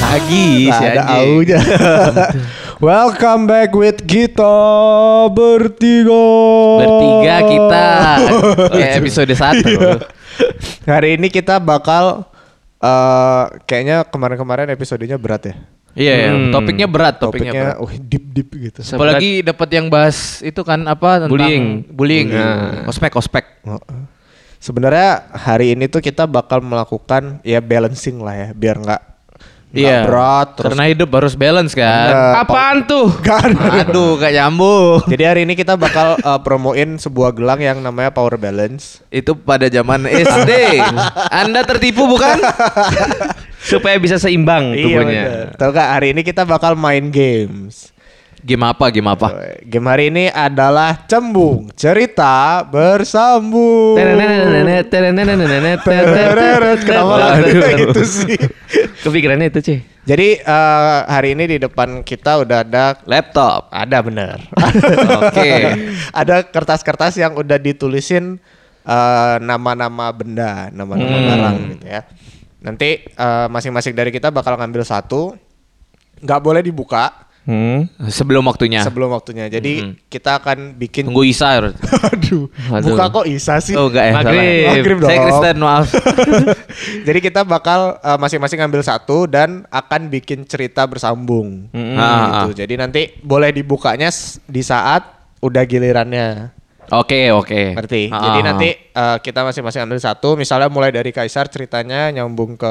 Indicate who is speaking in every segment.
Speaker 1: lagi si
Speaker 2: ada
Speaker 1: Iya anjing.
Speaker 2: aunya. Welcome back with kita bertiga.
Speaker 1: Bertiga kita kayak episode satu.
Speaker 2: Hari ini kita bakal eh kayaknya kemarin-kemarin episodenya berat ya.
Speaker 1: Iya, iya.
Speaker 3: Hmm.
Speaker 1: topiknya berat, topiknya.
Speaker 2: Topiknya
Speaker 1: berat.
Speaker 2: oh, deep deep gitu.
Speaker 3: Sep-
Speaker 1: Apalagi dapat yang bahas itu kan apa tentang
Speaker 3: Bullying.
Speaker 1: bullying.
Speaker 3: Nah.
Speaker 1: Ospek, ospek.
Speaker 2: Oh, eh. Sebenarnya hari ini tuh kita bakal melakukan ya balancing lah ya biar nggak nggak
Speaker 1: Iya.
Speaker 2: berat terus
Speaker 1: Karena hidup harus balance kan.
Speaker 2: Bener.
Speaker 3: Apaan tuh?
Speaker 2: Nggak ada.
Speaker 1: Aduh, gak nyambung.
Speaker 2: Jadi hari ini kita bakal eh, promoin sebuah gelang yang namanya Power Balance.
Speaker 1: Itu pada zaman SD. Anda tertipu bukan?
Speaker 3: Supaya bisa seimbang
Speaker 2: Iya,
Speaker 3: tubuhnya.
Speaker 2: bener. Tahu nggak hari ini kita bakal main games.
Speaker 1: Game apa? Game apa?
Speaker 2: Game hari ini adalah Cembung Cerita Bersambung.
Speaker 3: Terenenenenet, terenenenenet,
Speaker 2: Tereret, Kenapa lagunya
Speaker 3: Aduh.
Speaker 2: itu Gitu sih?
Speaker 3: Kepikirannya itu sih.
Speaker 2: Jadi eh, hari ini di depan kita udah ada
Speaker 1: Laptop.
Speaker 2: ada bener.
Speaker 1: Oke.
Speaker 2: ada kertas-kertas yang udah ditulisin eh, nama-nama benda, nama-nama
Speaker 3: Hmm.
Speaker 2: barang gitu ya. Nanti eh, masing-masing dari kita bakal ngambil satu. Nggak boleh dibuka
Speaker 3: Hmm.
Speaker 1: Sebelum waktunya.
Speaker 2: sebelum waktunya. Jadi
Speaker 1: Mhm.
Speaker 2: kita akan
Speaker 1: Ya.
Speaker 2: bikin
Speaker 1: Tunggu Isa. harus.
Speaker 2: Aduh,
Speaker 3: Waduh.
Speaker 2: buka kok Isa sih?
Speaker 1: Oh enggak ya. salah.
Speaker 3: Maghrib.
Speaker 2: Maghrib
Speaker 1: Saya
Speaker 2: dong.
Speaker 1: Kristen, maaf.
Speaker 2: Jadi kita bakal eh, masing-masing ngambil satu dan akan bikin cerita bersambung.
Speaker 3: Mm-mm.
Speaker 1: Ah,
Speaker 2: Gitu. Jadi nanti boleh dibukanya s- di saat udah gilirannya.
Speaker 1: Oke oke.
Speaker 2: Ngerti?
Speaker 1: Ah,
Speaker 2: Jadi
Speaker 1: ah,
Speaker 2: nanti eh, kita masing-masing ambil satu. Misalnya mulai dari Kaisar ceritanya nyambung ke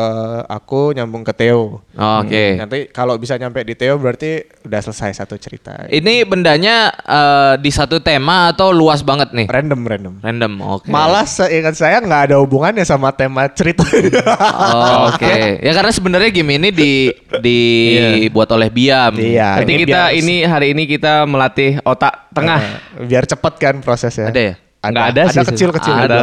Speaker 2: aku, nyambung ke Theo.
Speaker 1: ah. Oke.
Speaker 2: Nanti kalau bisa nyampe di Theo berarti udah selesai satu cerita.
Speaker 1: Ini bendanya eh, di satu tema atau luas banget nih?
Speaker 2: Random, random.
Speaker 1: Random. Oke.
Speaker 2: Malah seingat saya nggak ada hubungannya sama tema cerita.
Speaker 1: Oh, oke. Ya karena sebenarnya game ini di dibuat oleh Biam.
Speaker 2: Iya.
Speaker 3: Nanti
Speaker 2: ini
Speaker 3: kita
Speaker 2: biar-
Speaker 3: ini hari ini kita melatih otak tengah.
Speaker 2: Eh, biar cepet kan prosesnya.
Speaker 1: Ada ya?
Speaker 3: Nggak ada
Speaker 2: ada
Speaker 3: sih,
Speaker 2: kecil kecil
Speaker 3: Ada.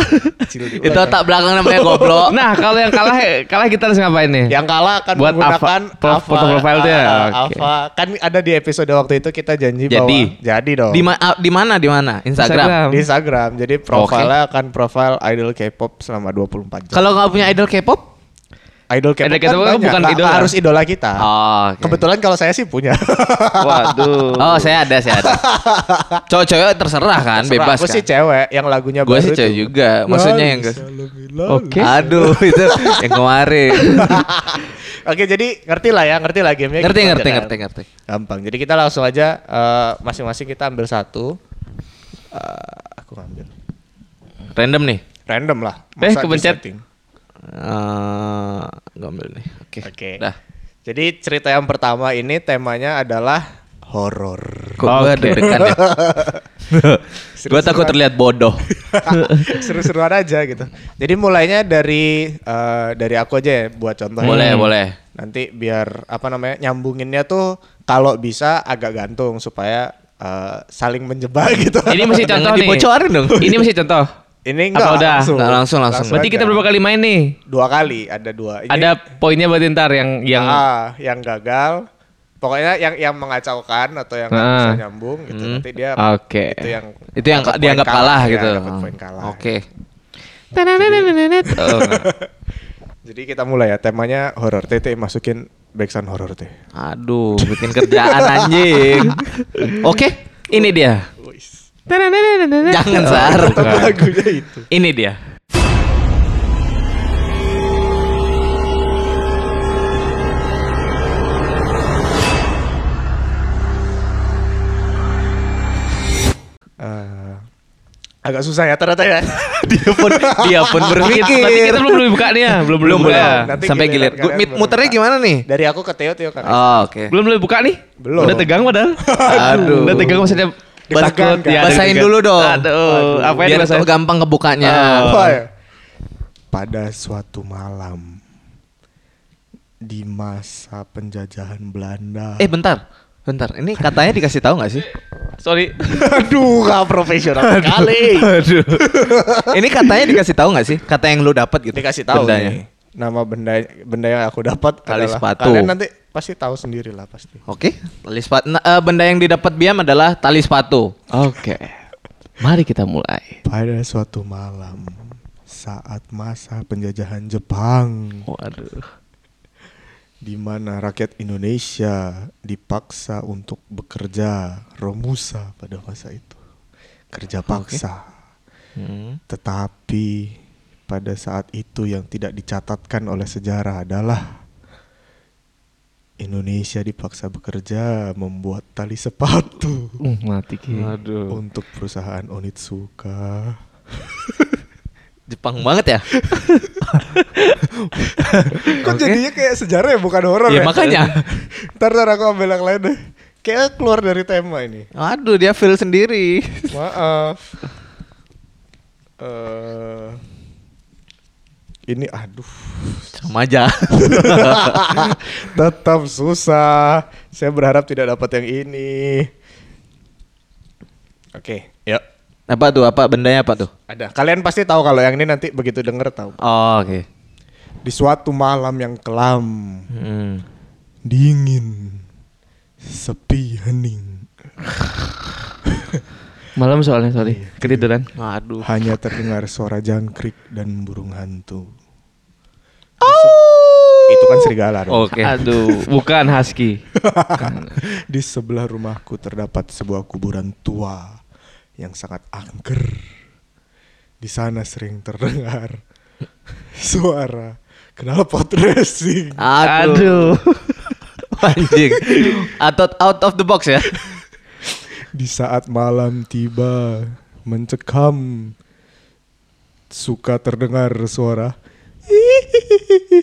Speaker 2: kecil di
Speaker 1: Itu
Speaker 2: belakang.
Speaker 1: otak belakang namanya goblok.
Speaker 3: Nah, kalau yang kalah kalah kita harus ngapain nih?
Speaker 2: yang kalah akan
Speaker 3: Buat
Speaker 2: menggunakan
Speaker 3: apa? Pro- foto profile dia,
Speaker 2: ah,
Speaker 3: oke.
Speaker 2: Alpha. kan ada di episode waktu itu kita janji
Speaker 1: Jadi.
Speaker 2: bahwa jadi dong
Speaker 1: Di, ma- ah, di mana? Di mana?
Speaker 3: Instagram.
Speaker 1: Instagram.
Speaker 2: di Instagram jadi profilnya akan profile idol K-pop selama 24 jam
Speaker 1: Kalau nggak punya idol K-pop?
Speaker 2: idol K-pop,
Speaker 3: Idol K-pop kan
Speaker 2: kan banyak,
Speaker 3: bukan
Speaker 2: nggak- nggak
Speaker 3: idola.
Speaker 2: harus idola kita
Speaker 1: Oh, oke.
Speaker 2: Ah. kebetulan kalau saya sih punya
Speaker 3: Waduh.
Speaker 1: Oh, saya ada, saya ada. Cowok-cowok terserah kan, bebas
Speaker 2: aku
Speaker 1: kan.
Speaker 2: sih cewek yang lagunya
Speaker 1: Gue
Speaker 2: baru
Speaker 1: sih
Speaker 2: itu.
Speaker 1: cewek juga. Maksudnya yang
Speaker 2: Lalu, lalu, lalu.
Speaker 3: Oke.
Speaker 1: Aduh, itu yang kemarin.
Speaker 2: Oke jadi ngerti lah ya ngerti lah gamenya
Speaker 1: ngerti,
Speaker 2: gitu aja
Speaker 1: ngerti,
Speaker 2: kan.
Speaker 1: ngerti, ngerti.
Speaker 2: Gampang. Jadi kita langsung aja eh, masing-masing kita ambil satu. Eh, aku ngambil.
Speaker 1: Random nih.
Speaker 2: Random lah.
Speaker 3: Eh,
Speaker 2: Masa
Speaker 3: kepencet.
Speaker 2: disetting.
Speaker 1: Eh, gua ambil nih. Oke.
Speaker 2: Oke.
Speaker 1: Dah.
Speaker 2: Jadi cerita yang pertama ini temanya adalah horor.
Speaker 1: Kok gue
Speaker 3: Oke.
Speaker 1: deg-degan ya? gue takut terlihat bodoh.
Speaker 2: Seru-seruan aja gitu. Jadi mulainya dari eh, dari aku aja ya buat contohnya.
Speaker 1: boleh, boleh.
Speaker 2: Nanti biar apa namanya nyambunginnya tuh kalau bisa agak gantung supaya eh, saling menjebak gitu.
Speaker 3: Ini masih
Speaker 1: Jangan
Speaker 3: contoh nih.
Speaker 1: dibocorin dong.
Speaker 3: Ini masih contoh. Apa
Speaker 2: Ini enggak
Speaker 3: udah?
Speaker 2: langsung.
Speaker 1: Nggak langsung, langsung.
Speaker 3: Berarti
Speaker 2: aja.
Speaker 3: kita berapa kali main nih?
Speaker 2: dua kali ada dua. Ini-
Speaker 3: Ada poinnya berarti ntar yang yang
Speaker 2: Ah, yang gagal pokoknya yang yang mengacaukan atau yang nggak
Speaker 3: Ah.
Speaker 2: bisa nyambung gitu nanti dia
Speaker 3: Oke.
Speaker 2: itu yang
Speaker 1: Hmm. Itu yang
Speaker 2: dapat
Speaker 1: dianggap
Speaker 2: poin
Speaker 1: kalah,
Speaker 2: ya,
Speaker 1: gitu.
Speaker 2: dapat poin kalah.
Speaker 1: Oke.
Speaker 3: Tenenenenenet. Oh,
Speaker 2: jadi kita mulai ya temanya horor tete masukin backsound horor teh
Speaker 1: Aduh, bikin kerjaan anjing. Oke, ini dia.
Speaker 3: tenenenenenet.
Speaker 1: Jangan sar.
Speaker 2: lagunya itu
Speaker 1: Ini dia.
Speaker 2: Eh, agak susah ya ternyata ya
Speaker 1: Dia pun dia pun
Speaker 3: Berarti
Speaker 1: berpikir.
Speaker 3: kita belum belum buka nih ya, belum belum
Speaker 1: belum
Speaker 3: buka.
Speaker 1: belum.
Speaker 2: Nanti
Speaker 1: Sampai
Speaker 2: giliran
Speaker 1: gilir. Gua,
Speaker 2: kalian
Speaker 1: mit-
Speaker 2: baru
Speaker 1: muternya
Speaker 2: buka.
Speaker 1: gimana nih?
Speaker 2: dari aku ke Teo Teo kan
Speaker 3: Ah,
Speaker 1: Oh, oke.
Speaker 3: Belum belum buka nih?
Speaker 2: Belum.
Speaker 3: Udah tegang padahal.
Speaker 1: Aduh.
Speaker 3: Udah tegang maksudnya
Speaker 2: Ditekan,
Speaker 3: takut
Speaker 2: kan?
Speaker 3: ya. ada
Speaker 1: Basahin
Speaker 3: tegang.
Speaker 1: dulu dong.
Speaker 3: Aduh, apa Ah. yang
Speaker 1: Biar
Speaker 3: dibasahin?
Speaker 1: tau gampang kebukanya.
Speaker 2: Apa ya? Pada suatu malam di masa penjajahan Belanda.
Speaker 1: Eh, bentar. Bentar. Ini katanya dikasih tahu nggak sih?
Speaker 3: Sorry.
Speaker 2: Aduh, gak profesional sekali.
Speaker 1: Aduh. ini katanya dikasih tahu nggak sih? Kata yang lu dapat gitu.
Speaker 2: dikasih tahu
Speaker 1: bendanya.
Speaker 2: nih nama benda benda yang aku dapat
Speaker 1: Tali
Speaker 2: adalah-
Speaker 1: sepatu.
Speaker 2: kalian nanti pasti tahu sendiri lah pasti
Speaker 1: Oke, tali sepatu. Nah, eh, benda yang didapat Biam adalah tali sepatu.
Speaker 3: Oke. Mari kita mulai.
Speaker 2: pada suatu malam saat masa penjajahan Jepang
Speaker 3: Waduh.
Speaker 2: di mana rakyat Indonesia dipaksa untuk bekerja romusa pada masa itu. Kerja paksa. Tetapi pada saat itu yang tidak dicatatkan oleh sejarah adalah Indonesia dipaksa bekerja membuat tali sepatu
Speaker 3: Uh, mati ki.
Speaker 4: Aduh.
Speaker 2: untuk perusahaan Onitsuka.
Speaker 1: Jepang banget ya.
Speaker 2: Kok jadinya kayak sejarah ya bukan horor
Speaker 1: ya makanya.
Speaker 2: Ntar, ntar aku ambil yang lain deh. Kayaknya keluar dari tema ini.
Speaker 1: Aduh dia feel sendiri.
Speaker 2: Maaf. eh ini aduh.
Speaker 1: Sama aja.
Speaker 2: Tetap susah. Saya berharap tidak dapat yang ini. Oke, yuk.
Speaker 1: apa tuh? Apa bendanya apa tuh?
Speaker 2: Ada. Kalian pasti tahu kalau yang ini nanti begitu denger tahu.
Speaker 1: Oh, Oke.
Speaker 2: Di suatu malam yang kelam,
Speaker 1: Hmm.
Speaker 2: dingin, sepi, hening.
Speaker 3: Malam soalnya sorry. Ketiduran.
Speaker 1: Aduh.
Speaker 2: Hanya terdengar suara jangkrik dan burung hantu. Itu kan serigala. dong.
Speaker 1: Oke.
Speaker 3: Aduh, bukan husky.
Speaker 2: Di sebelah rumahku terdapat sebuah kuburan tua yang sangat angker. Di sana sering terdengar suara knalpot racing.
Speaker 1: Aduh. Anjing. Atau out of the box ya.
Speaker 2: Di saat malam tiba mencekam suka terdengar suara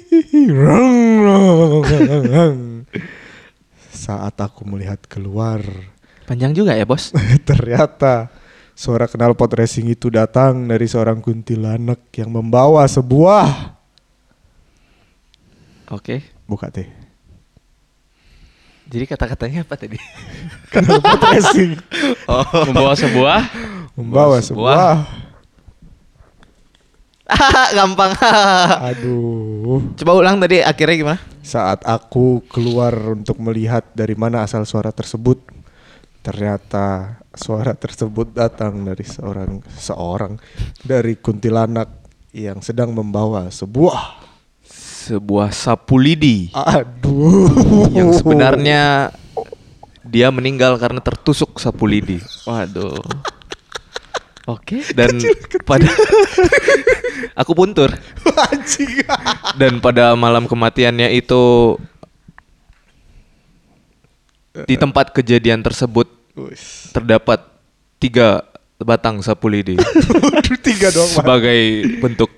Speaker 2: rong, rong, rong, rong. saat aku melihat keluar
Speaker 1: Panjang juga ya, Bos.
Speaker 2: Ternyata suara knalpot racing itu datang dari seorang kuntilanak yang membawa sebuah
Speaker 1: Oke.
Speaker 2: buka teh
Speaker 1: Jadi kata-katanya apa tadi?
Speaker 2: knalpot racing
Speaker 1: Oh.
Speaker 3: Membawa sebuah
Speaker 2: membawa
Speaker 1: Sebuah.
Speaker 2: sebuah
Speaker 1: Gampang.
Speaker 2: aduh
Speaker 1: Coba ulang tadi akhirnya gimana?
Speaker 2: saat aku keluar untuk melihat dari mana asal suara tersebut ternyata suara tersebut datang dari seorang seorang dari kuntilanak yang sedang membawa sebuah
Speaker 1: Sebuah sapu lidi
Speaker 2: aduh Oh.
Speaker 1: yang sebenarnya dia meninggal karena tertusuk sapu lidi. Waduh.
Speaker 3: Oke.
Speaker 1: Dan pada aku puntur
Speaker 2: anjing
Speaker 1: dan pada malam kematiannya itu di tempat kejadian tersebut
Speaker 2: Wis.
Speaker 1: terdapat tiga batang sapu lidi
Speaker 2: Waduh, tiga doang Pak.
Speaker 1: sebagai bentuk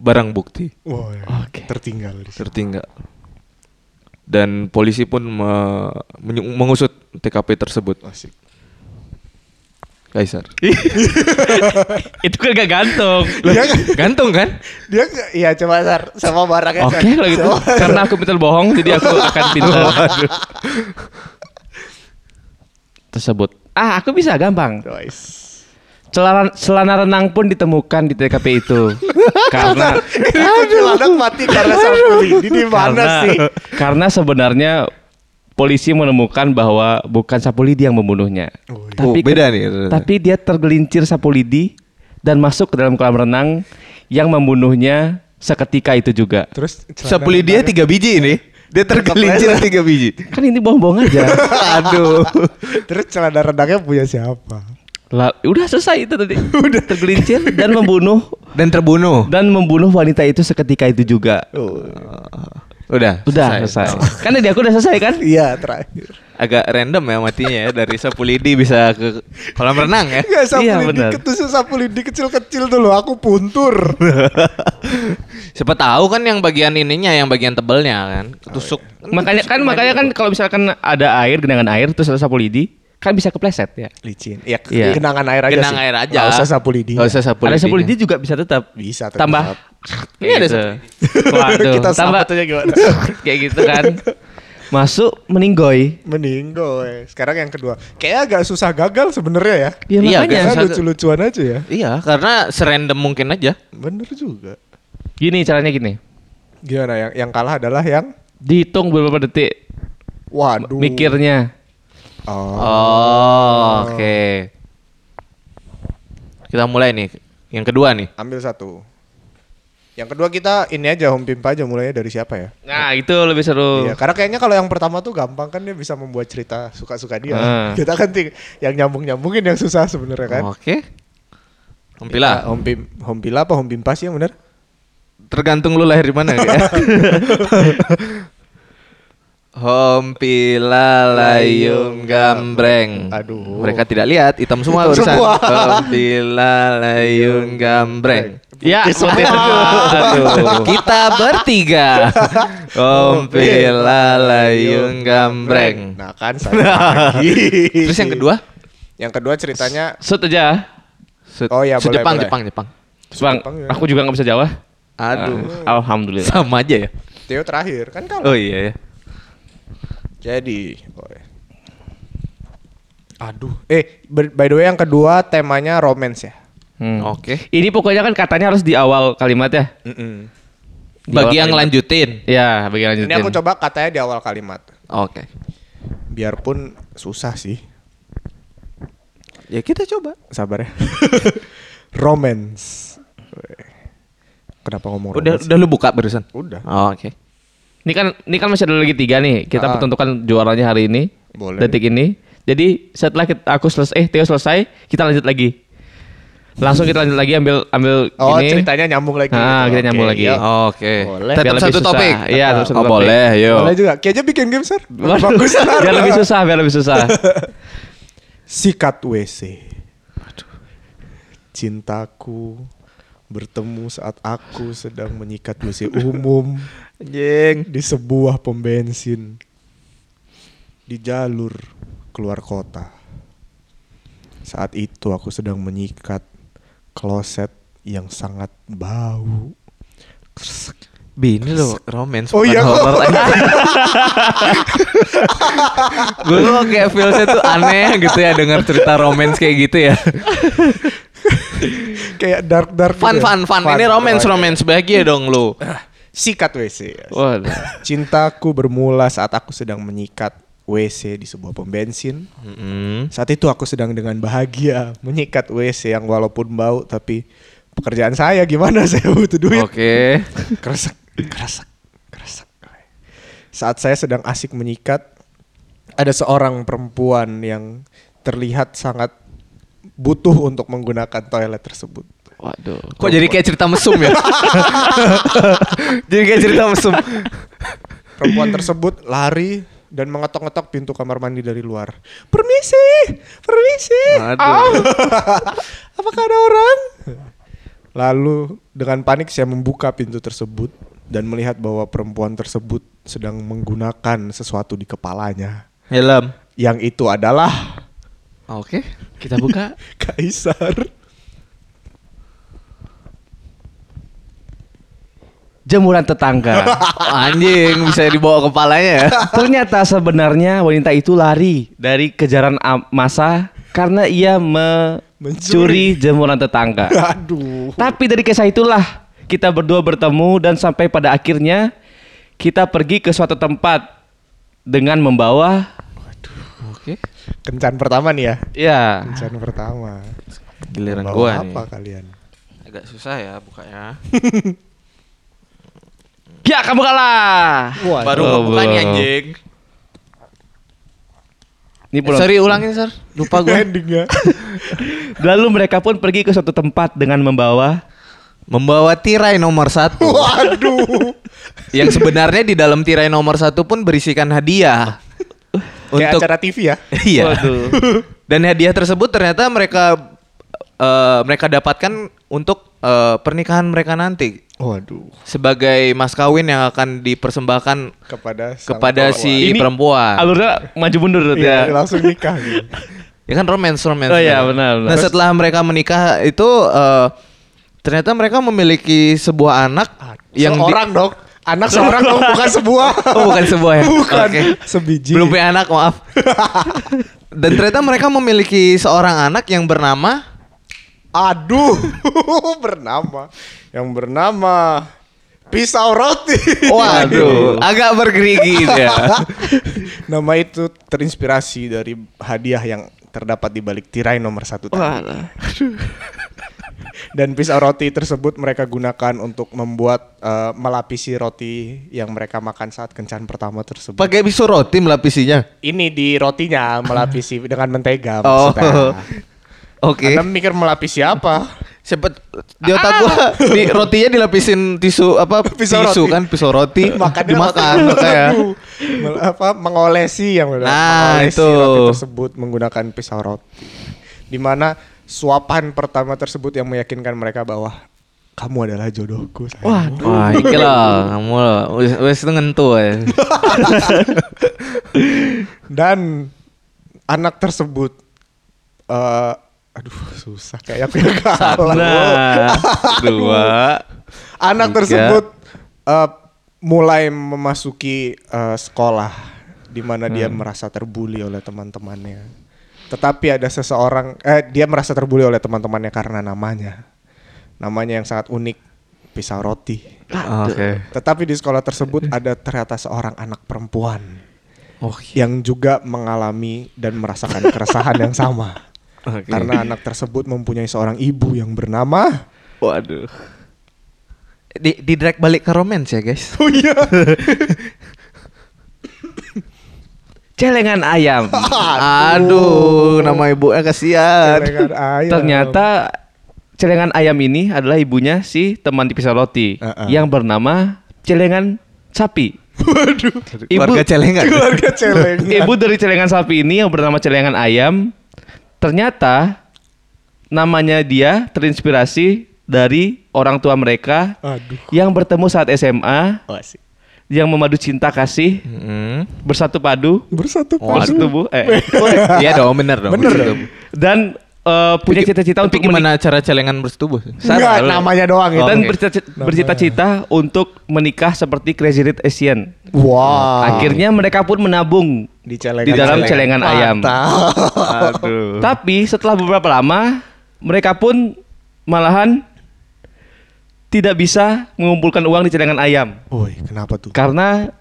Speaker 1: barang bukti.
Speaker 2: Wah, ya.
Speaker 3: Oke.
Speaker 2: tertinggal di situ.
Speaker 1: tertinggal dan polisi pun me- menyu- mengusut TKP tersebut
Speaker 2: Asik.
Speaker 1: Kaisar
Speaker 3: Itu kan gak gantung.
Speaker 1: Loh,
Speaker 2: Iya kan?
Speaker 1: gantung kan
Speaker 2: Dia nggak- iya coba sar sama barangnya. Sar.
Speaker 3: Oke lah gitu.
Speaker 2: Sama-
Speaker 3: Karena aku pintar bohong, jadi aku akan pintar. Tersebut. Ah, aku bisa gampang.
Speaker 2: Guys.
Speaker 3: Celana, celana renang pun ditemukan di TKP itu. karena
Speaker 2: Kuntilanak mati karena sapu lidi di mana
Speaker 3: karena,
Speaker 2: sih?
Speaker 3: karena sebenarnya polisi menemukan bahwa bukan sapu lidi yang membunuhnya.
Speaker 2: Oh, iya.
Speaker 1: Oh, beda nih.
Speaker 3: Tapi dia tergelincir sapu lidi dan masuk ke dalam kolam renang yang membunuhnya seketika itu juga.
Speaker 2: Terus
Speaker 1: sapu dia tiga biji ini dia tergelincir tiga biji
Speaker 3: Kan ini bohong-bohong aja.
Speaker 1: aduh
Speaker 2: Terus celana rendangnya punya siapa?
Speaker 3: Lah, udah selesai itu tadi. udah tergelincir dan membunuh
Speaker 1: dan terbunuh
Speaker 3: dan membunuh wanita itu seketika itu juga.
Speaker 1: Ah. udah
Speaker 3: Udah selesai. Kan tadi aku udah selesai kan?
Speaker 2: Iya terakhir.
Speaker 1: agak random ya matinya ya dari sapu lidi bisa ke kolam renang ya
Speaker 2: Enggak sapu
Speaker 3: Iya,
Speaker 2: lidi
Speaker 3: benar.
Speaker 2: ketusuk sapu lidi kecil-kecil dulu aku puntur.
Speaker 1: siapa tahu kan yang bagian ininya yang bagian tebelnya kan ketusuk
Speaker 2: Oh, iya.
Speaker 3: Makanya kan makanya kan kalau misalkan ada air genangan air terus ada sapu lidi kan bisa kepleset ya.
Speaker 2: Licin. Iya,
Speaker 3: Iya.
Speaker 2: kenangan air aja
Speaker 1: Genang
Speaker 2: sih.
Speaker 1: air aja
Speaker 2: Nggak usah sapu lidi.
Speaker 1: Nggak usah sapu
Speaker 3: ada sapu
Speaker 1: lidinya.
Speaker 3: lidi juga bisa tetap
Speaker 2: Bisa tetap.
Speaker 3: tambah.
Speaker 1: Ini ada sapu
Speaker 3: gitu. Waduh,
Speaker 2: Kita
Speaker 3: tambah
Speaker 2: sahabat aja gimana?
Speaker 3: kayak gitu kan. Masuk meninggoy.
Speaker 2: Meninggoy. Sekarang yang kedua. Kayaknya agak susah gagal sebenarnya
Speaker 3: Ya
Speaker 2: ya.
Speaker 1: Iya,
Speaker 3: makanya.
Speaker 1: kan?
Speaker 2: Karena
Speaker 1: satu-
Speaker 2: lucu-lucuan aja ya.
Speaker 1: Iya, karena serandom mungkin aja.
Speaker 2: Bener juga.
Speaker 3: Gini caranya gini.
Speaker 2: Gimana yang yang kalah adalah yang
Speaker 3: Dihitung beberapa detik
Speaker 2: waduh.
Speaker 3: mikirnya.
Speaker 2: Oh.
Speaker 1: Oh, oke. Kita mulai nih. Yang kedua nih.
Speaker 2: Ambil satu. Yang kedua kita ini aja home pimpa aja mulainya dari siapa ya?
Speaker 3: Nah itu lebih seru.
Speaker 2: Iya, karena kayaknya kalau yang pertama tuh gampang kan dia bisa membuat cerita suka-suka dia.
Speaker 3: Ah.
Speaker 2: Kita kan ting- yang nyambung-nyambungin yang susah sebenarnya kan.
Speaker 1: Oke. Mempila.
Speaker 2: Pila, home pim home pila apa home pimpa sih yang benar?
Speaker 1: Tergantung lu lahir di mana ya. Hompila layung gambreng.
Speaker 2: Aduh.
Speaker 1: Mereka tidak lihat, hitam semua
Speaker 2: Hitam
Speaker 1: urusan.
Speaker 2: semua.
Speaker 1: Hompila layung gambreng.
Speaker 3: Ya,
Speaker 1: Aduh. Kita bertiga. Hompila layung gambreng.
Speaker 2: Nah kan saya lagi.
Speaker 1: Terus yang kedua?
Speaker 2: Yang kedua ceritanya
Speaker 3: Set aja.
Speaker 1: Se-
Speaker 2: Oh iya,
Speaker 1: se-
Speaker 2: boleh,
Speaker 1: Jepang,
Speaker 2: boleh.
Speaker 1: Jepang, Jepang.
Speaker 3: Bang,
Speaker 2: Jepang ya.
Speaker 3: aku juga nggak bisa Jawa.
Speaker 1: Aduh.
Speaker 3: Ah, Alhamdulillah.
Speaker 1: Sama aja ya.
Speaker 2: Theo terakhir kan kalau.
Speaker 3: Eh.
Speaker 1: Oh iya ya.
Speaker 2: Jadi, boy. Aduh. Eh, ber- by the way yang kedua temanya romance ya.
Speaker 3: Hmm.
Speaker 1: Oke.
Speaker 3: Ini pokoknya kan katanya harus di awal kalimat ya.
Speaker 2: Mm-mm.
Speaker 1: Bagi
Speaker 3: Di awal
Speaker 1: yang
Speaker 3: kalimat.
Speaker 1: lanjutin.
Speaker 3: Ya, bagi yang lanjutin.
Speaker 2: Ini aku coba katanya di awal kalimat.
Speaker 1: Oke.
Speaker 2: Biarpun susah sih.
Speaker 1: Ya kita coba.
Speaker 2: Sabar ya. romance. Weh. Kenapa ngomong
Speaker 1: Udah
Speaker 2: romance?
Speaker 1: udah lu buka barusan.
Speaker 2: Udah.
Speaker 1: Oh, Oke.
Speaker 3: Ini kan ini kan masih ada lagi tiga nih. Kita
Speaker 2: Ah.
Speaker 3: pertentukan juaranya hari ini.
Speaker 2: Boleh.
Speaker 3: Detik ini. Jadi setelah kita- aku selesai, eh Theo selesai, kita lanjut lagi. Langsung kita lanjut lagi ambil ambil
Speaker 2: Oh,
Speaker 3: ini.
Speaker 2: ceritanya nyambung lagi.
Speaker 3: Ah,
Speaker 2: gitu.
Speaker 3: kita nyambung
Speaker 2: Oke,
Speaker 3: lagi.
Speaker 2: yuk.
Speaker 1: Oke.
Speaker 2: Boleh.
Speaker 1: Tetap
Speaker 3: Biar lebih
Speaker 1: satu
Speaker 3: susah.
Speaker 1: topik.
Speaker 3: Iya, tetap satu
Speaker 1: oh,
Speaker 3: topik.
Speaker 1: Boleh, yo.
Speaker 2: Boleh juga. Kayaknya bikin game, Sir.
Speaker 3: Waduh,
Speaker 2: Bagus, Sar.
Speaker 3: biar lebih susah, biar lebih susah.
Speaker 2: Sikat WC. Cintaku bertemu saat aku sedang menyikat WC umum
Speaker 1: Anjing.
Speaker 2: di sebuah pom bensin di jalur keluar kota. Saat itu aku sedang menyikat kloset yang sangat bau.
Speaker 1: Bini lo romance
Speaker 2: Oh,
Speaker 1: bukan
Speaker 2: iya, kok.
Speaker 1: horror anjing. Gue tuh kayak feelsnya tuh aneh gitu ya dengar cerita romance kayak gitu ya.
Speaker 2: Kayak gitu ya? dark dark.
Speaker 1: Fun fun fun. Ini romance romance bahagia dong lu.
Speaker 2: Sikat ya. WC.
Speaker 3: Waduh.
Speaker 2: Cintaku bermula saat aku sedang menyikat WC di sebuah pom bensin.
Speaker 1: Mm-mm.
Speaker 2: Saat itu aku sedang dengan bahagia menyikat WC yang walaupun bau tapi pekerjaan saya gimana saya butuh duit.
Speaker 1: Oke.
Speaker 2: Kresek, kresek, kresek. Saat saya sedang asik menyikat, ada seorang perempuan yang terlihat sangat butuh untuk menggunakan toilet tersebut.
Speaker 3: Waduh.
Speaker 1: Kok jadi kayak cerita mesum ya? jadi kayak cerita mesum.
Speaker 2: Perempuan tersebut lari dan mengetok-ngetok pintu kamar mandi dari luar. Permisi, permisi.
Speaker 1: Aduh.
Speaker 2: Apakah ada orang? Lalu dengan panik saya membuka pintu tersebut dan melihat bahwa perempuan tersebut sedang menggunakan sesuatu di kepalanya.
Speaker 1: Helm.
Speaker 2: Yang itu adalah
Speaker 1: Oke. Kita buka.
Speaker 2: Kaisar.
Speaker 3: Jemuran tetangga.
Speaker 1: Anjing bisa dibawa kepalanya ya.
Speaker 3: Ternyata sebenarnya wanita itu lari dari kejaran am- masa karena ia mencuri jemuran tetangga.
Speaker 2: Aduh.
Speaker 3: Tapi dari kisah itulah kita berdua bertemu dan sampai pada akhirnya kita pergi ke suatu tempat dengan membawa
Speaker 1: Oke.
Speaker 2: Kencan pertama nih ya.
Speaker 3: ya
Speaker 2: Kencan pertama.
Speaker 1: Ah. Giliran
Speaker 2: Bawa
Speaker 1: gua nih.
Speaker 2: apa kalian?
Speaker 1: Agak susah ya bukanya.
Speaker 3: ya kamu kalah.
Speaker 1: Baru
Speaker 3: Oh,
Speaker 1: buka nih
Speaker 3: belum.
Speaker 1: anjing.
Speaker 3: Ini belum.
Speaker 1: Sorry ulangin, Sir. Lupa gua.
Speaker 2: Endingnya.
Speaker 3: Lalu mereka pun pergi ke suatu tempat dengan membawa
Speaker 1: Membawa tirai nomor satu.
Speaker 2: Waduh.
Speaker 1: yang sebenarnya di dalam tirai nomor satu pun berisikan hadiah.
Speaker 2: Kayak
Speaker 1: Untuk
Speaker 2: acara TV ya.
Speaker 1: iya.
Speaker 3: Waduh.
Speaker 1: Dan hadiah tersebut ternyata mereka eh, mereka dapatkan untuk eh, pernikahan mereka nanti
Speaker 2: Waduh.
Speaker 1: sebagai mas kawin yang akan dipersembahkan
Speaker 2: Kepada sang
Speaker 1: kepada
Speaker 2: perempuan.
Speaker 1: si
Speaker 3: Ini
Speaker 1: perempuan.
Speaker 3: alurnya maju mundur tuh ya.
Speaker 2: Iya, langsung nikah. gitu.
Speaker 1: Ya kan romance romance.
Speaker 3: Oh iya, benar, benar.
Speaker 1: Nah
Speaker 3: Terus-
Speaker 1: setelah mereka menikah itu eh, ternyata mereka memiliki sebuah anak
Speaker 3: Ah,
Speaker 1: yang di-
Speaker 2: seorang dong. Anak seorang dong, bukan sebuah.
Speaker 1: oh bukan sebuah ya.
Speaker 2: Bukan.
Speaker 1: Oke.
Speaker 2: Sebiji.
Speaker 1: Belum punya anak maaf. Dan ternyata mereka memiliki seorang anak yang bernama
Speaker 2: Aduh, bernama yang bernama pisau roti.
Speaker 1: Waduh, agak bergerigi gitu ya. dia.
Speaker 2: Nama itu terinspirasi dari hadiah yang terdapat di balik tirai nomor satu tadi. Dan pisau roti tersebut mereka gunakan untuk membuat eh, melapisi roti yang mereka makan saat kencan pertama tersebut.
Speaker 1: Pakai pisau roti melapisinya.
Speaker 2: Ini di rotinya melapisi dengan mentega
Speaker 1: Oh.
Speaker 2: maksudnya.
Speaker 1: Oke.
Speaker 2: Anda mikir melapisi apa?
Speaker 1: Siapa di otak gua di rotinya dilapisin tisu apa
Speaker 2: Pisau
Speaker 1: tisu
Speaker 2: roti.
Speaker 1: kan pisau roti
Speaker 2: Makannya
Speaker 1: dimakan ya.
Speaker 2: roti.
Speaker 1: makanya.
Speaker 2: Aduh. Mel- apa mengolesi yang benar.
Speaker 1: Nah,
Speaker 2: mengolesi
Speaker 1: itu.
Speaker 2: roti tersebut menggunakan pisau roti. Di mana suapan pertama tersebut yang meyakinkan mereka bahwa kamu adalah jodohku. sayang."
Speaker 1: Wah, iki lah kamu lah. Wis wis itu ngentu ya.
Speaker 2: Dan anak tersebut eh aduh susah kayak aku yang kalah.
Speaker 3: Nah,
Speaker 1: Dua.
Speaker 2: Anak
Speaker 1: Tiga.
Speaker 2: tersebut eh, mulai memasuki eh, sekolah di mana dia merasa terbuli oleh teman-temannya. Tetapi ada seseorang eh dia merasa terbuli oleh teman-temannya karena namanya. Namanya yang sangat unik, pisau roti.
Speaker 1: Ah, Oke.
Speaker 2: Tetapi di sekolah tersebut ada ternyata seorang anak perempuan
Speaker 1: Oke.
Speaker 2: yang juga mengalami dan merasakan keresahan yang sama.
Speaker 1: Oke.
Speaker 2: Karena anak tersebut mempunyai seorang ibu yang bernama
Speaker 1: Waduh. Di di drag balik ke romance ya, guys.
Speaker 3: celengan ayam.
Speaker 1: Aduh, nama ibunya kasihan.
Speaker 2: Celengan Ayam.
Speaker 3: Ternyata celengan ayam ini adalah ibunya si teman di pisau roti
Speaker 2: Uh-uh.
Speaker 3: yang bernama celengan sapi. Waduh. Ibu,
Speaker 1: Keluarga celengan.
Speaker 2: keluarga celengan.
Speaker 1: Iya.
Speaker 3: ibu dari celengan sapi ini yang bernama celengan ayam ternyata namanya dia terinspirasi dari orang tua mereka
Speaker 2: Aduh.
Speaker 3: yang bertemu saat SMA
Speaker 2: Oh, asik.
Speaker 3: yang memadu cinta kasih
Speaker 1: Heeh.
Speaker 3: bersatu padu
Speaker 2: Bersatu
Speaker 3: bersatu
Speaker 2: padu.
Speaker 3: tubuh eh
Speaker 1: Iya dong, bener dong.
Speaker 2: Bener
Speaker 1: bersetubuh.
Speaker 2: dong.
Speaker 3: dan eh, punya cita-cita
Speaker 1: Tapi
Speaker 3: untuk
Speaker 1: gimana cara celengan bersetubuh?
Speaker 2: Enggak,
Speaker 3: Salah.
Speaker 2: namanya doang itu.
Speaker 1: Oh,
Speaker 3: dan
Speaker 1: oke.
Speaker 3: bercita- bercita-cita untuk menikah seperti Crazy Rich Asian.
Speaker 2: Wow.
Speaker 3: Akhirnya mereka pun menabung
Speaker 2: di celengan
Speaker 3: di dalam celengan ayam.
Speaker 2: Mantap.
Speaker 1: Aduh.
Speaker 3: Tapi setelah beberapa lama mereka pun malahan tidak bisa mengumpulkan uang di celengan ayam
Speaker 2: Woi, kenapa tuh?
Speaker 3: karena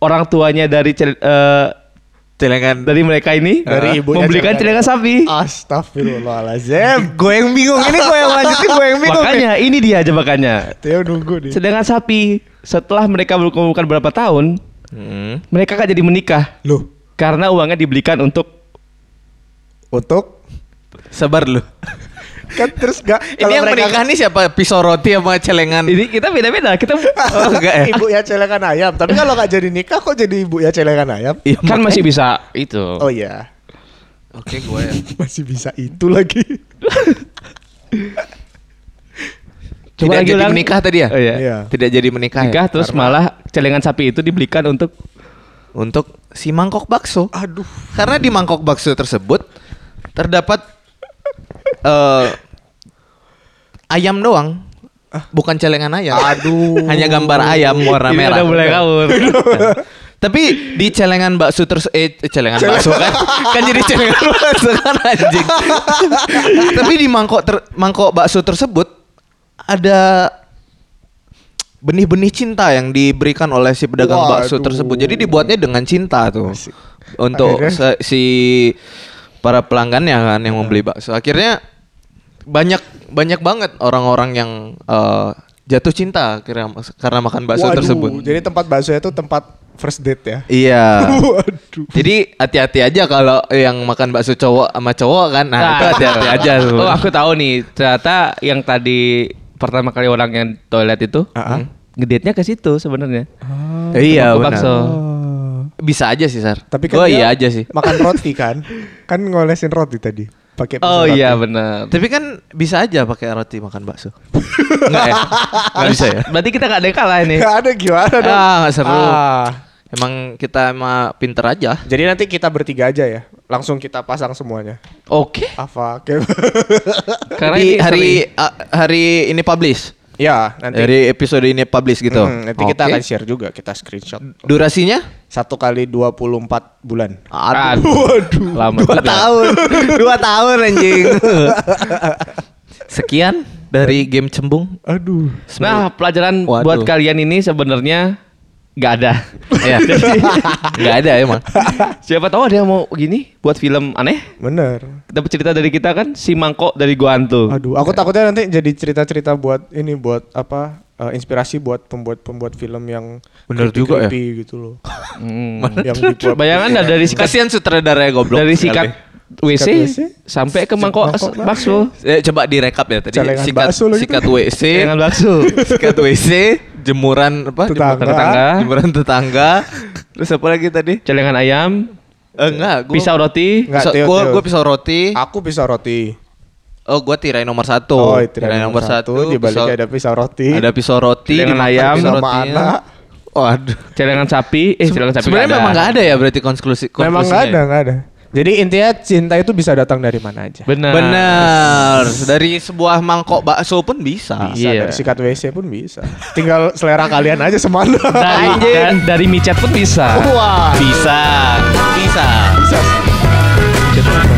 Speaker 3: orang tuanya dari cel- eh,
Speaker 1: Celengan
Speaker 3: dari mereka ini
Speaker 2: Dari
Speaker 3: eh,
Speaker 2: ibunya Ah,
Speaker 3: membelikan
Speaker 2: celengan.
Speaker 3: celengan sapi.
Speaker 2: Astagfirullahalazim.
Speaker 1: gue yang bingung ini gue yang lanjutin gue yang bingung nih.
Speaker 2: ya?
Speaker 3: Makanya ini dia jebakannya.
Speaker 2: Teo nunggu nih.
Speaker 3: Celengan sapi setelah mereka berkumpulkan berapa tahun mereka gak jadi menikah.
Speaker 2: Loh,
Speaker 3: Karena uangnya dibelikan untuk
Speaker 2: untuk
Speaker 1: sabar lu
Speaker 2: kan terus gak
Speaker 1: ini yang
Speaker 2: kan
Speaker 1: menikah nih siapa pisau roti sama
Speaker 3: kan-
Speaker 1: celengan
Speaker 3: ini kita beda-beda kita
Speaker 1: oh enggak ya
Speaker 2: ibu ya celengan ayam tapi kalau nggak jadi nikah kok jadi ibu ya celengan ayam
Speaker 1: Iya,
Speaker 3: kan
Speaker 1: makanya.
Speaker 3: masih bisa itu.
Speaker 2: oh iya
Speaker 1: oke gue ya
Speaker 2: masih bisa itu lagi
Speaker 1: Tidak jadi menikah tadi ya?
Speaker 3: Oh, iya.
Speaker 2: Iya.
Speaker 1: tidak jadi menikah
Speaker 3: Nikah
Speaker 1: ya?
Speaker 3: terus malah celengan sapi itu dibelikan untuk
Speaker 1: untuk si mangkok bakso
Speaker 2: aduh
Speaker 1: karena di mangkok bakso tersebut terdapat eh, ayam doang bukan celengan ayam
Speaker 2: Aduh.
Speaker 1: hanya gambar ayam warna
Speaker 3: Ini
Speaker 1: merah
Speaker 3: Iya,
Speaker 1: Iya.
Speaker 3: udah mulai ngawur.
Speaker 1: Tapi di celengan bakso terus eh celengan bakso kan kan jadi celengan bakso kan anjing. Tapi di mangkok ter- mangkok bakso tersebut ada benih-benih cinta yang diberikan oleh si pedagang bakso
Speaker 2: Waduh.
Speaker 1: tersebut. Jadi dibuatnya dengan cinta tuh.
Speaker 2: Asik.
Speaker 1: Untuk
Speaker 2: Akhirnya-
Speaker 1: se- si para pelanggannya kan yang membeli bakso. Akhirnya banyak banyak banget orang-orang yang eh, jatuh cinta karena karena makan bakso
Speaker 2: Waduh,
Speaker 1: tersebut.
Speaker 2: jadi tempat bakso itu tempat first date ya
Speaker 1: Iya.
Speaker 2: waduh
Speaker 1: Jadi hati-hati aja kalau yang makan bakso cowok sama cowok kan. Nah, itu hati-hati aja tuh.
Speaker 3: Oh, aku tahu nih. Ternyata yang tadi pertama kali orang yang toilet itu hmm,
Speaker 2: Ah, ah.
Speaker 3: ngedate-nya ke situ sebenarnya.
Speaker 1: iya,
Speaker 3: Ke
Speaker 1: benar. Oh,
Speaker 3: bakso.
Speaker 1: Bisa aja sih, Sar. Tapi
Speaker 2: Tapi kan
Speaker 1: gua
Speaker 2: dia
Speaker 1: iya aja sih.
Speaker 2: Makan roti kan? Kan ngolesin roti tadi. Pakai pisau
Speaker 3: Oh
Speaker 2: roti.
Speaker 3: iya benar.
Speaker 1: Tapi kan bisa aja pakai roti makan bakso. Enggak ya? Enggak bisa ya?
Speaker 3: eh, Berarti kita gak ada yang kalah ini.
Speaker 2: Nggak ada gimana dong?
Speaker 1: Ah, nggak seru.
Speaker 2: Ah.
Speaker 1: Emang kita emang pinter aja.
Speaker 2: Jadi nanti kita bertiga aja ya. Langsung kita pasang semuanya.
Speaker 3: Oke.
Speaker 2: Apa? Kev?
Speaker 3: Karena
Speaker 1: Di
Speaker 3: ini
Speaker 1: hari
Speaker 3: seri.
Speaker 1: a- hari ini publish.
Speaker 2: ya, nanti
Speaker 1: Dari episode ini publish gitu.
Speaker 2: Hmm, nanti kita
Speaker 1: Oke.
Speaker 2: akan share juga, kita screenshot.
Speaker 1: durasinya?
Speaker 2: Satu kali 24 bulan.
Speaker 1: Aduh.
Speaker 2: Waduh.
Speaker 3: lama
Speaker 1: dua
Speaker 3: juga.
Speaker 1: tahun dua tahun anjing sekian dari game cembung
Speaker 2: Aduh.
Speaker 3: Nah, pelajaran
Speaker 1: Iya. Waduh.
Speaker 3: buat kalian ini sebenarnya nggak ada.
Speaker 1: Iya. Enggak ada emang.
Speaker 3: Siapa tahu ada yang mau gini buat film aneh.
Speaker 2: Bener.
Speaker 3: Dapat cerita dari kita kan si mangkok dari gua hantu.
Speaker 2: Aduh, aku takutnya nanti jadi cerita-cerita buat ini buat apa? eh, inspirasi buat pembuat-pembuat film yang
Speaker 1: Bener juga ya.
Speaker 2: creepy-creepy gitu loh.
Speaker 3: Hmm.
Speaker 2: yang dibuat
Speaker 3: Bayangan dah dari sikat
Speaker 1: Kasihan sutradaranya goblok. eh.
Speaker 3: dari sikat
Speaker 1: sekali.
Speaker 3: WC
Speaker 2: Sikat WC,
Speaker 3: sampai ke
Speaker 2: sikat
Speaker 3: mangkok
Speaker 2: mangkok lah.
Speaker 3: bakso.
Speaker 1: Eh, coba direkap ya tadi.
Speaker 2: Celengan
Speaker 1: sikat
Speaker 2: bakso lagi
Speaker 1: sikat
Speaker 2: tuh.
Speaker 1: WC,
Speaker 3: Jangan bakso.
Speaker 1: sikat WC, jemuran apa?
Speaker 2: Eh, Tetangga.
Speaker 1: Jemuran tetangga. Jemuran tetangga. Terus apa lagi tadi?
Speaker 3: Celengan ayam,
Speaker 1: Eh, enggak, gua
Speaker 3: pisau roti.
Speaker 2: Enggak.
Speaker 1: pisau-
Speaker 2: Tio,
Speaker 1: gua,
Speaker 2: Tio.
Speaker 1: gua pisau roti.
Speaker 2: Aku pisau roti. Oh,
Speaker 1: Oh, gua tirai nomor satu.
Speaker 2: iya, tirai Di
Speaker 1: pisau-
Speaker 2: baliknya ada pisau roti.
Speaker 1: ada pisau roti
Speaker 3: Celengan
Speaker 1: dimakan
Speaker 3: ayam.
Speaker 1: pisau
Speaker 2: Sama
Speaker 1: rotinya.
Speaker 2: anak.
Speaker 1: Waduh.
Speaker 3: Celengan sapi, eh celengan sapi.
Speaker 1: Sebenarnya memang nggak ada ya berarti konklusi konklusinya
Speaker 2: Memang nggak
Speaker 1: ya?
Speaker 2: ada, nggak ada. Jadi intinya cinta itu bisa datang dari mana aja.
Speaker 3: Benar.
Speaker 1: Benar. Dari sebuah mangkok bakso pun bisa.
Speaker 2: Bisa
Speaker 3: Iya.
Speaker 2: dari sikat WC pun bisa. Tinggal selera kalian aja semana.
Speaker 3: Dari,
Speaker 1: Anjing. Oh,
Speaker 3: da- dari micet pun bisa.
Speaker 2: Wah.
Speaker 1: Bisa. Bisa.
Speaker 2: Bisa.
Speaker 3: Micet.